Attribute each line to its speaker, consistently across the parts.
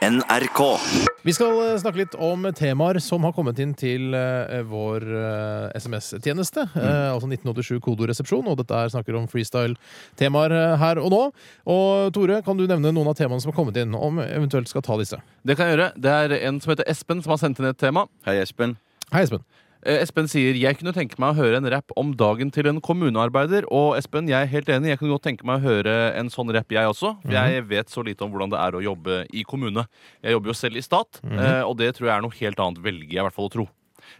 Speaker 1: NRK.
Speaker 2: Vi skal eh, snakke litt om temaer som har kommet inn til eh, vår eh, SMS-tjeneste. eh, altså 1987 kodoresepsjon, og dette her snakker om freestyle-temaer eh, her og nå. Og Tore, kan du nevne noen av temaene som har kommet inn, om eventuelt skal ta disse?
Speaker 3: Det kan jeg gjøre. Det er en som heter Espen, som har sendt inn et tema.
Speaker 1: Hei, Espen.
Speaker 2: Hei, Espen.
Speaker 3: Eh, Espen sier jeg kunne tenke meg å høre en rapp om dagen til en kommunearbeider. Og Espen, jeg er helt enig. Jeg kunne godt tenke meg å høre en sånn rapp, jeg også. For
Speaker 1: Mhm.
Speaker 3: jeg vet så lite om hvordan det er å jobbe i kommune. Jeg jobber jo selv i stat,
Speaker 1: Mhm.
Speaker 3: eh, og det tror jeg er noe helt annet, velger jeg i hvert fall å tro.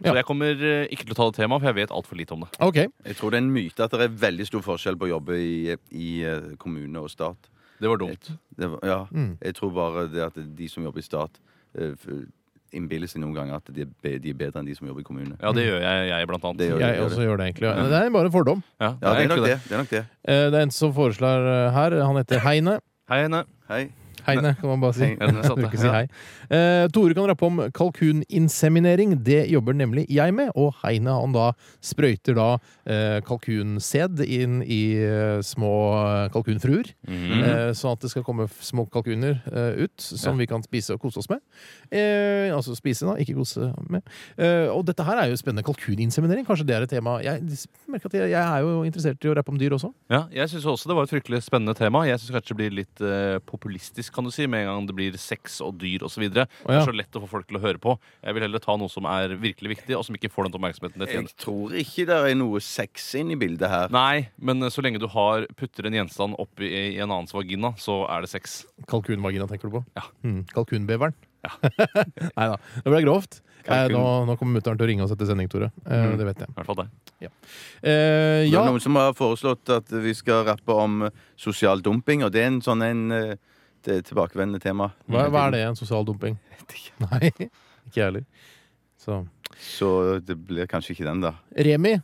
Speaker 3: Så
Speaker 2: Ja.
Speaker 3: jeg kommer eh, ikke til å ta det temaet, for jeg vet altfor lite om det.
Speaker 2: Ok.
Speaker 1: Jeg tror det er en myte at det er veldig stor forskjell på å jobbe i, i eh, kommune og stat.
Speaker 3: Det var dumt.
Speaker 1: Det, var- ja, Jeg tror bare det at de som jobber i stat, eh, f- innbiller seg noen ganger at de er, be, de er bedre enn de som jobber i kommune.
Speaker 3: Ja, det gjør jeg, jeg blant annet.
Speaker 1: Mhm. Det gjør
Speaker 2: Jeg
Speaker 1: det.
Speaker 2: også gjør det, egentlig. Ja. Det er bare en fordom.
Speaker 3: Ja,
Speaker 1: Ja, det er nok
Speaker 3: egentlig
Speaker 1: det. det, er nok det.
Speaker 2: Eh, Det er en som foreslår eh, her. Han heter Heine.
Speaker 3: Hei, Heine.
Speaker 1: Hei.
Speaker 2: Heine, kan man bare si.
Speaker 3: Ja, den satt
Speaker 2: Du kan ikke
Speaker 3: jeg.
Speaker 2: si
Speaker 3: Sånn, Ja.
Speaker 2: hei. Eh, Tore kan rappe om kalkuninseminering. Det jobber nemlig jeg med. Og Heine han da sprøyter da eh, kalkunsæd inn i eh, små eh, kalkunfruer.
Speaker 3: Mhm.
Speaker 2: eh, sånn at det skal komme f- små kalkuner eh, ut som vi kan spise og kose oss med. Eh, altså spise, da, ikke kose med. Eh, og dette her er jo spennende. Kalkuninseminering, kanskje det er et tema. Jeg merker at jeg, jeg er jo interessert i å rappe om dyr også.
Speaker 3: Ja, jeg synes også det var et fryktelig spennende tema. Jeg synes kanskje det blir litt eh, populistisk kan du si, med en gang det blir sex og dyr osv. videre Det
Speaker 2: ja.
Speaker 3: er så lett å få folk til å høre på. Jeg vil heller ta noe som er virkelig viktig, og som ikke får den oppmerksomheten det
Speaker 1: Jeg
Speaker 3: tjener.
Speaker 1: tror ikke det er noe sex inn i bildet her.
Speaker 3: Nei, men eh, så lenge du har, putter en gjenstand oppi i en annens vagina, så er det sex.
Speaker 2: Kalkunvagina tenker du på?
Speaker 3: Ja.
Speaker 2: Mm, kalkunbeveren? Nei da, det ble grovt. Eh,
Speaker 1: Kalkun.
Speaker 2: nå, nå kommer mutter'n til å ringe oss etter sending, Tore. Eh, Det vet jeg.
Speaker 3: I hvert fall deg.
Speaker 2: Eh,
Speaker 1: Det
Speaker 2: ja,
Speaker 1: er noen som har foreslått at vi skal rappe om eh, sosial dumping, og det er en sånn en eh, det er et tilbakevendende tema.
Speaker 2: hva, hva er det? En sosial dumping? Nei, ikke jeg heller. Så.
Speaker 1: Så det blir kanskje ikke den, da.
Speaker 2: Remi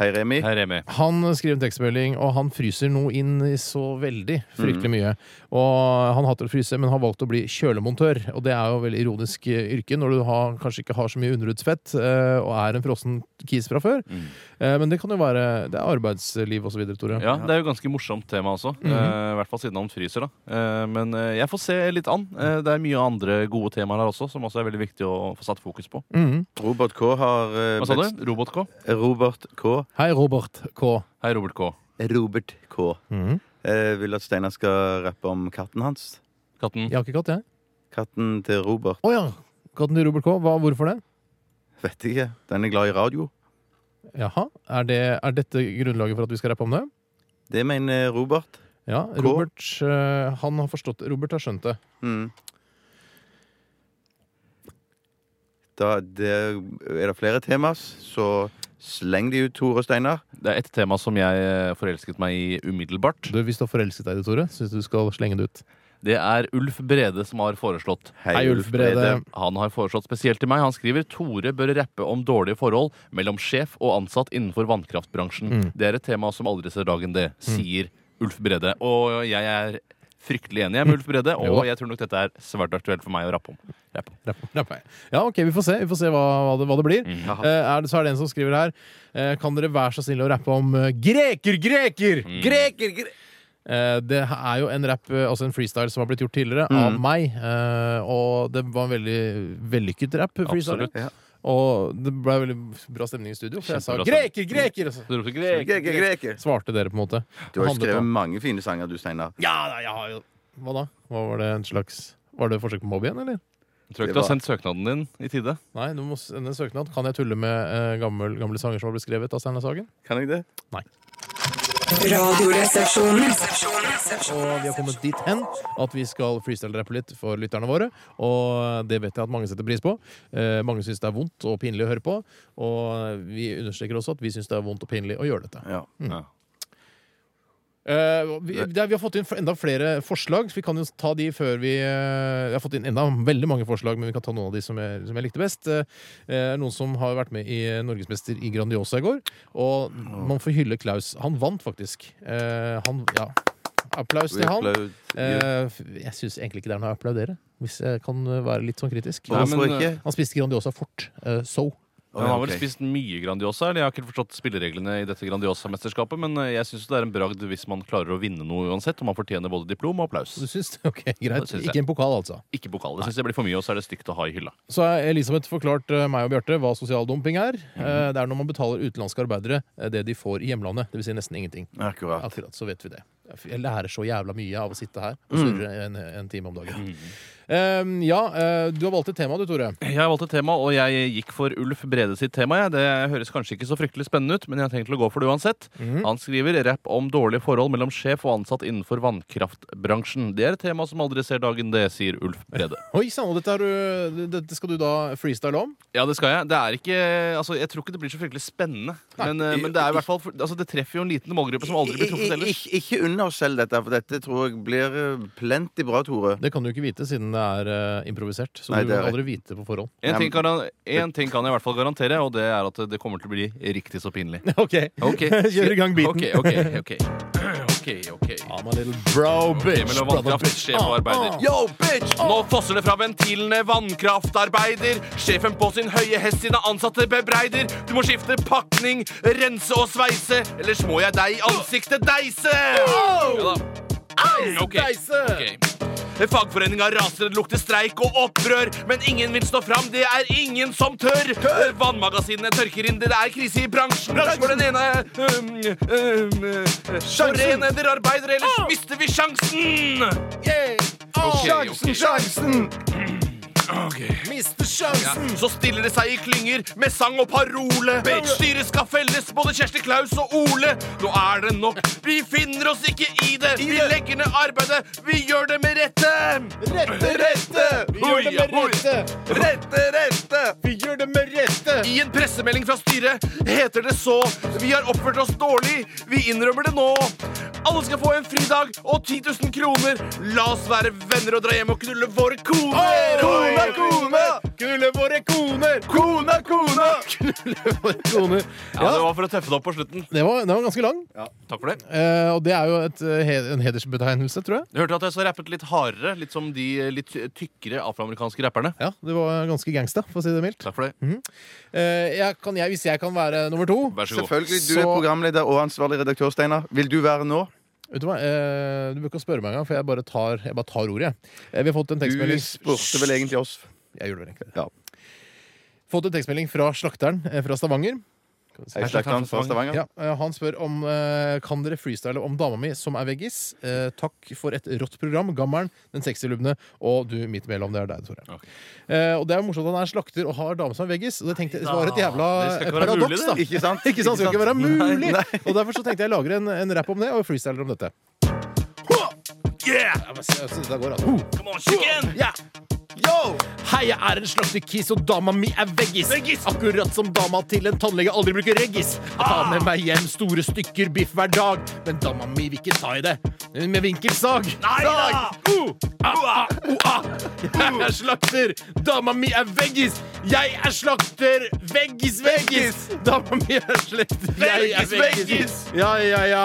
Speaker 1: Hei, Remi.
Speaker 3: Hei, Remi.
Speaker 2: han skriver en tekstmelding, og han fryser noe inn i så veldig fryktelig mye. Og Han hater å fryse, men har valgt å bli kjølemontør. Og Det er jo veldig ironisk eh, yrke når du har, kanskje ikke har så mye underhudsfett eh, og er en frossen kis fra før. Eh, Men det kan jo være Det er arbeidsliv og så videre, Tore.
Speaker 3: Ja, Det er jo ganske morsomt tema også. eh, I hvert fall siden han fryser. da Eh, Men eh, jeg får se litt an. Eh, det er mye andre gode temaer her også, som også er veldig viktig å få satt fokus på.
Speaker 2: Mhm.
Speaker 1: Robert K har eh,
Speaker 3: Hva sa
Speaker 1: blitt-
Speaker 3: du? Robot K?
Speaker 1: Robert K.
Speaker 2: Hei, Robert K.
Speaker 3: Hei, Robert K.
Speaker 1: Robert K.
Speaker 2: Mm.
Speaker 1: Eh, vil at Steinar skal rappe om katten hans.
Speaker 3: Katten.
Speaker 2: Jeg har ikke katt, jeg.
Speaker 1: Katten til Robert.
Speaker 2: Å ja! Katten til Robert K. Hva, hvorfor det?
Speaker 1: Vet ikke. Den er glad i radio.
Speaker 2: Jaha. Er, det, er dette grunnlaget for at vi skal rappe om det?
Speaker 1: Det mener Robert.
Speaker 2: Ja. Robert, eh, han har forstått Robert har skjønt det.
Speaker 1: Mm. Da det, er det flere temas, så sleng de ut, Tore og Steinar.
Speaker 3: Det er et tema som jeg eh, forelsket meg i umiddelbart.
Speaker 2: Du, Hvis du har forelsket deg i det, Tore, syns du skal slenge det ut.
Speaker 3: Det er Ulf Brede som har foreslått.
Speaker 2: Hei, Ulf Brede.
Speaker 3: Han har foreslått spesielt til meg. Han skriver Tore bør rappe om dårlige forhold mellom sjef og ansatt innenfor vannkraftbransjen.
Speaker 2: Mm.
Speaker 3: Det er et tema som aldri ser dagen, det, sier Ulf Brede. Og jeg er fryktelig enig med Ulf Brede,
Speaker 2: Jo
Speaker 3: og
Speaker 2: da.
Speaker 3: jeg tror nok dette er svært aktuelt for meg å rappe om. Rappe om.
Speaker 2: Rapp, rapp. Ja, ok, vi får se, vi får se hva, hva, det, hva det blir.
Speaker 1: Mm.
Speaker 2: Eh, er det, så er det en som skriver her. eh, kan dere være så snille å rappe om eh, greker, greker!
Speaker 1: Mm.
Speaker 2: Greker, gre Eh, det er jo en rap, eh, altså en freestyle, som har blitt gjort tidligere,
Speaker 1: Mm.
Speaker 2: av meg. eh, og det var en veldig vellykket rap. freestyle.
Speaker 3: Absolutt.
Speaker 2: Og det ble veldig bra stemning i studio, for jeg sa
Speaker 3: Kjempebra
Speaker 2: 'Greker, greker!' og så
Speaker 3: Du ropte grek.
Speaker 1: Greker, greker.
Speaker 2: svarte dere, på en måte.
Speaker 1: Du har jo
Speaker 2: Handlet
Speaker 1: skrevet
Speaker 2: om-
Speaker 1: mange fine sanger, du, Steinar.
Speaker 2: Ja, da, jeg har jo Hva da? Hva var det en slags Var det forsøk på mobb igjen, eller?
Speaker 3: Tror ikke
Speaker 1: Det
Speaker 3: du
Speaker 1: var-
Speaker 3: har sendt søknaden din i tide.
Speaker 2: Nei, du må sende en søknad. Kan jeg tulle med eh, gammel, gamle sanger som har blitt skrevet av Steinar Sagen?
Speaker 1: Kan jeg det?
Speaker 4: Radioresepsjonen.
Speaker 2: Og vi har kommet dit hen at vi skal freestyle-rappe litt for lytterne våre. Og det vet jeg at mange setter pris på. Eh, mange syns det er vondt og pinlig å høre på. Og vi understreker også at vi syns det er vondt og pinlig å gjøre dette.
Speaker 1: Ja.
Speaker 3: Ja.
Speaker 2: Eh, vi, det, er- vi har fått inn f- enda flere forslag, så vi kan jo ta de før vi eh, Jeg har fått inn enda veldig mange forslag, men vi kan ta noen av de som jeg, som jeg likte best. Eh, eh, noen som har vært med i Norgesmester i Grandiosa i går. Og man får hylle Klaus. Han vant faktisk. Eh, han Ja. Applaus til han.
Speaker 1: Applaud.
Speaker 2: Eh, f- jeg syns egentlig ikke det er noe å applaudere, hvis jeg kan eh, være litt sånn kritisk.
Speaker 3: Nei, men,
Speaker 1: Hvorfor ikke?
Speaker 2: Han spiste Grandiosa fort. eh, so.
Speaker 1: Å,
Speaker 3: Han
Speaker 1: ja,
Speaker 3: har vel
Speaker 1: ok.
Speaker 3: spist mye Grandiosa. eller Jeg har ikke forstått spillereglene i dette Grandiosa-mesterskapet, men eh, jeg syns det er en bragd hvis man klarer å vinne noe uansett, og man fortjener både diplom og applaus.
Speaker 2: Du syns det? Ok, greit.
Speaker 3: synes jeg.
Speaker 2: Ikke en pokal, altså.
Speaker 3: Ikke pokal. Det syns jeg blir for mye, og så er det stygt å ha i hylla.
Speaker 2: Så har Elisabeth forklart eh, meg og Bjarte hva sosial dumping er. Eh, Det er når man betaler utenlandske arbeidere eh, det de får i hjemlandet. Det vil si nesten ingenting.
Speaker 1: Akkurat.
Speaker 2: Akkurat, så vet vi det. Jeg lærer så jævla mye av å sitte her og surre en, en time om dagen. Eh, ja, eh, du har valgt et tema du, Tore.
Speaker 3: Jeg valgte et tema, og jeg gikk for Ulf Brede sitt tema. Jeg. Det høres kanskje ikke så fryktelig spennende ut, men jeg har tenkt til å gå for det uansett. Han skriver rapp om dårlige forhold mellom sjef og ansatt innenfor vannkraftbransjen. Det er et tema som aldri ser dagen, det, sier Ulf Brede.
Speaker 2: Oi sann, og dette, har du, dette skal du da freestyle om?
Speaker 3: Ja, det skal jeg. Det er ikke, altså, jeg tror ikke det blir så fryktelig spennende. Men, eh, men det er i hvert fall, altså, det treffer jo en liten målgruppe som aldri blir truffet ellers.
Speaker 1: Ikke, ikke unna oss selv dette, for dette tror jeg blir eh, plenty bra, Tore.
Speaker 2: Det kan du ikke vite siden det er eh, improvisert. Så
Speaker 1: Nei,
Speaker 2: du
Speaker 1: det
Speaker 2: vil
Speaker 1: er
Speaker 2: aldri vite på forhånd.
Speaker 3: En ting, kan han, en ting kan jeg i hvert fall garantere, og det er at det kommer til å bli riktig så pinlig.
Speaker 2: Ok,
Speaker 3: Ok.
Speaker 2: Kjør i gang biten.
Speaker 3: Ok, ok, ok. Ok, ok.
Speaker 2: I'm a little bro bitch,
Speaker 3: Emil og
Speaker 2: brother
Speaker 3: vannkraft,
Speaker 2: bitch. Ah,
Speaker 3: sjef og arbeider.
Speaker 1: Yo, bitch!
Speaker 3: Nå fosser det fra ventilene, vannkraftarbeider. Sjefen på sin høye hest sine ansatte bebreider. Du må skifte pakning, rense og sveise, ellers må jeg deg i ansiktet deise. Ja da. Ok,
Speaker 2: deise!
Speaker 3: ok. Fagforeninga raser, det lukter streik og opprør. Men ingen vil stå fram, det er ingen som tør. Vannmagasinene tørker inn, det er krise i bransjen. For den ene um, um,
Speaker 2: uh,
Speaker 3: Sjansen! arbeidere, ellers mister vi sjansen. Ok, ok.
Speaker 1: sjansen!
Speaker 3: Ok.
Speaker 2: Mister sjansen!
Speaker 3: Så stiller det seg i klynger med sang og parole. Styret skal felles, både Kjersti Klaus og Ole. Nå er det nok. Vi finner oss ikke i det. Vi legger ned arbeidet. Vi gjør det med rette.
Speaker 2: Rette, rette! Vi gjør det med rette!
Speaker 1: Rette, rette!
Speaker 2: Vi gjør det med rette!
Speaker 3: I en pressemelding fra styret heter det så Vi har oppført oss dårlig. Vi innrømmer det nå. Alle skal få en fridag og 10 000 kroner. La oss være venner og dra hjem og knulle våre koner.
Speaker 2: Kona,
Speaker 3: Oi.
Speaker 2: kone! Knulle våre koner!
Speaker 1: Kona, kona!
Speaker 2: Knulle våre koner.
Speaker 3: Ja,
Speaker 2: Ja,
Speaker 3: det var for å tøffe det opp på slutten.
Speaker 2: det var, den var ganske lang,
Speaker 3: Takk for det.
Speaker 2: eh, og det er jo et, eh, he- en hedersbetegnelse, tror jeg.
Speaker 3: Du hørte at jeg så rappet litt hardere, litt som de eh, litt tykkere afroamerikanske rapperne.
Speaker 2: Ja, Det var ganske gangsta, for å si det mildt.
Speaker 3: Takk for det.
Speaker 2: Eh, jeg kan, jeg, hvis jeg kan være nummer to
Speaker 3: Vær så god.
Speaker 1: Selvfølgelig, du
Speaker 2: Så-
Speaker 1: er programleder og ansvarlig redaktør, Steinar. Vil du være nå?
Speaker 2: Vet Du hva, eh, du bør ikke spørre meg engang, for jeg bare tar, jeg bare tar ordet. jeg. Eh, vi har fått en
Speaker 1: Du
Speaker 2: tekstmelding
Speaker 1: spurte vel egentlig oss.
Speaker 2: Jeg gjorde det egentlig.
Speaker 1: Ja.
Speaker 2: Fått en tekstmelding fra slakteren eh, fra Stavanger. Skal vi se.
Speaker 1: Jeg snakker han fra Stavanger.
Speaker 2: Ja, eh, han spør om eh, Kan dere freestyle om dama mi som er veggis. Eh, takk for et rått program. Gammelen, den sexylubne og du midt mellom. Det er deg, Tore.
Speaker 3: Ok.
Speaker 2: Eh, og det er jo morsomt at han er slakter og har dame som er veggis. Og det tenkte jeg det var et jævla eh,
Speaker 3: Det skal ikke være mulig,
Speaker 2: paradoks,
Speaker 3: det.
Speaker 2: da.
Speaker 1: Ikke sant?
Speaker 2: Ikke sant? Det skal ikke være mulig!
Speaker 1: Nei, nei.
Speaker 2: Og derfor så tenkte jeg lager en, en rap om det, og freestyler om dette.
Speaker 3: Yeah!
Speaker 2: Ja, men se- se, dette går, altså.
Speaker 3: Come on, chicken!
Speaker 2: Ja.
Speaker 1: Yo!
Speaker 2: Hei, jeg er en slakterkis, og dama mi er veggis. Akkurat som dama til en tannlege aldri bruker reggis. Jeg tar med meg hjem store stykker biff hver dag, men dama mi vil ikke ta i det med vinkelsag.
Speaker 3: Nei da!
Speaker 2: Uh, ah, ah, uh, ah. Jeg er slakter, dama mi er veggis. Jeg er slakter, veggis, veggis. Dama mi er slakter, jeg er
Speaker 3: Veggis,
Speaker 2: veggis.
Speaker 3: veggis.
Speaker 2: Ja, ja, ja.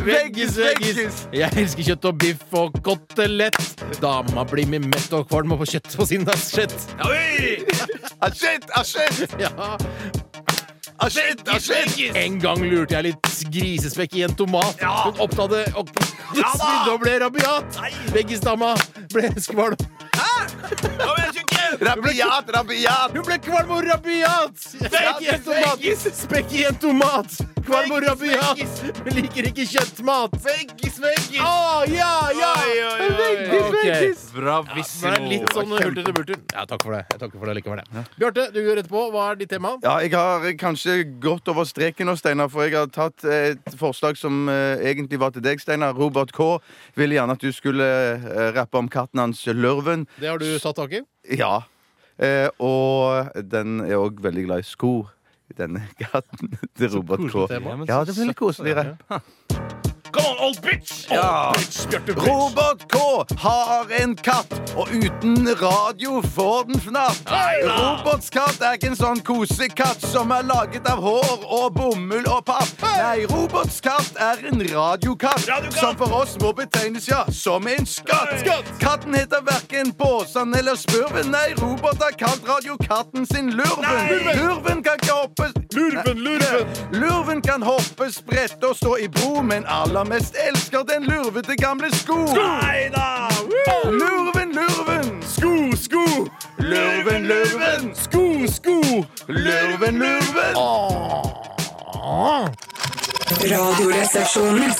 Speaker 2: Veggis,
Speaker 1: Veggis,
Speaker 2: veggis.
Speaker 1: veggis.
Speaker 2: Jeg elsker kjøtt og biff og kotelett. Dama blir med mett og kvalm og får kjøtt på sin asjett.
Speaker 3: Oi!
Speaker 1: Ah, shit, ah, shit,
Speaker 2: Ja.
Speaker 1: ah, shit, ah, shit!
Speaker 2: En gang lurte jeg litt grisespekk i en tomat.
Speaker 3: Ja.
Speaker 2: Hun oppdaget det og
Speaker 3: Ja da.
Speaker 2: snudde og ble rabiat. Veggisdama ble skvalm.
Speaker 3: Kom igjen, chicken!
Speaker 1: Rabiat, rabiat!
Speaker 2: Hun ble kvalm og rabiat! Spekk i en tomat! Spekk i en tomat! Kvalm og rabiat! Hun liker ikke kjøttmat.
Speaker 1: Veggis, veggis!
Speaker 2: Å, ja, ja!
Speaker 3: Oi, oi, oi.
Speaker 2: Veggis, veggis! Det
Speaker 3: Bravissimo.
Speaker 2: er litt sånn hurtigere burter. Ja, takk for det. Jeg takker for det likevel. jeg. Bjarte, du går rett på. Hva er ditt tema?
Speaker 1: Ja, jeg har kanskje gått over streken nå, Steinar, for jeg har tatt et forslag som eh, egentlig var til deg, Steinar. Robert K. ville gjerne at du skulle eh, rappe om katten hans Lørven.
Speaker 2: Det har du tatt tak i.
Speaker 1: Ja. Eh, og den er òg veldig glad i sko, denne katten til Robert K.
Speaker 2: koselig tema.
Speaker 1: Ja, det blir litt koselig rapp.
Speaker 3: Come on, old bitch!
Speaker 1: Ja.
Speaker 3: Old bitch, Bjarte bitch.
Speaker 1: Robert K har en katt, og uten radio får den fnatt. Roberts katt er ikke en sånn kosekatt som er laget av hår og bomull og papp. Nei, Roberts katt er en radiokatt,
Speaker 3: Radiokatt!
Speaker 1: som for oss må betegnes ja, som en skatt. Katten heter verken Båsan eller Spurven. Nei, Robert har kalt radiokatten sin Lurven. Lurven kan ikke hoppe
Speaker 3: Lurven, lurven!
Speaker 1: Lurven kan hoppe, sprette og stå i bro, men aller mest elsker den lurvete gamle sko.
Speaker 3: Nei da!
Speaker 1: Lurven, lurven,
Speaker 3: Sko, sko!
Speaker 1: lurven, lurven,
Speaker 3: Sko, sko!
Speaker 1: lurven, lurven.
Speaker 2: Ah.
Speaker 4: Radioresepsjonen.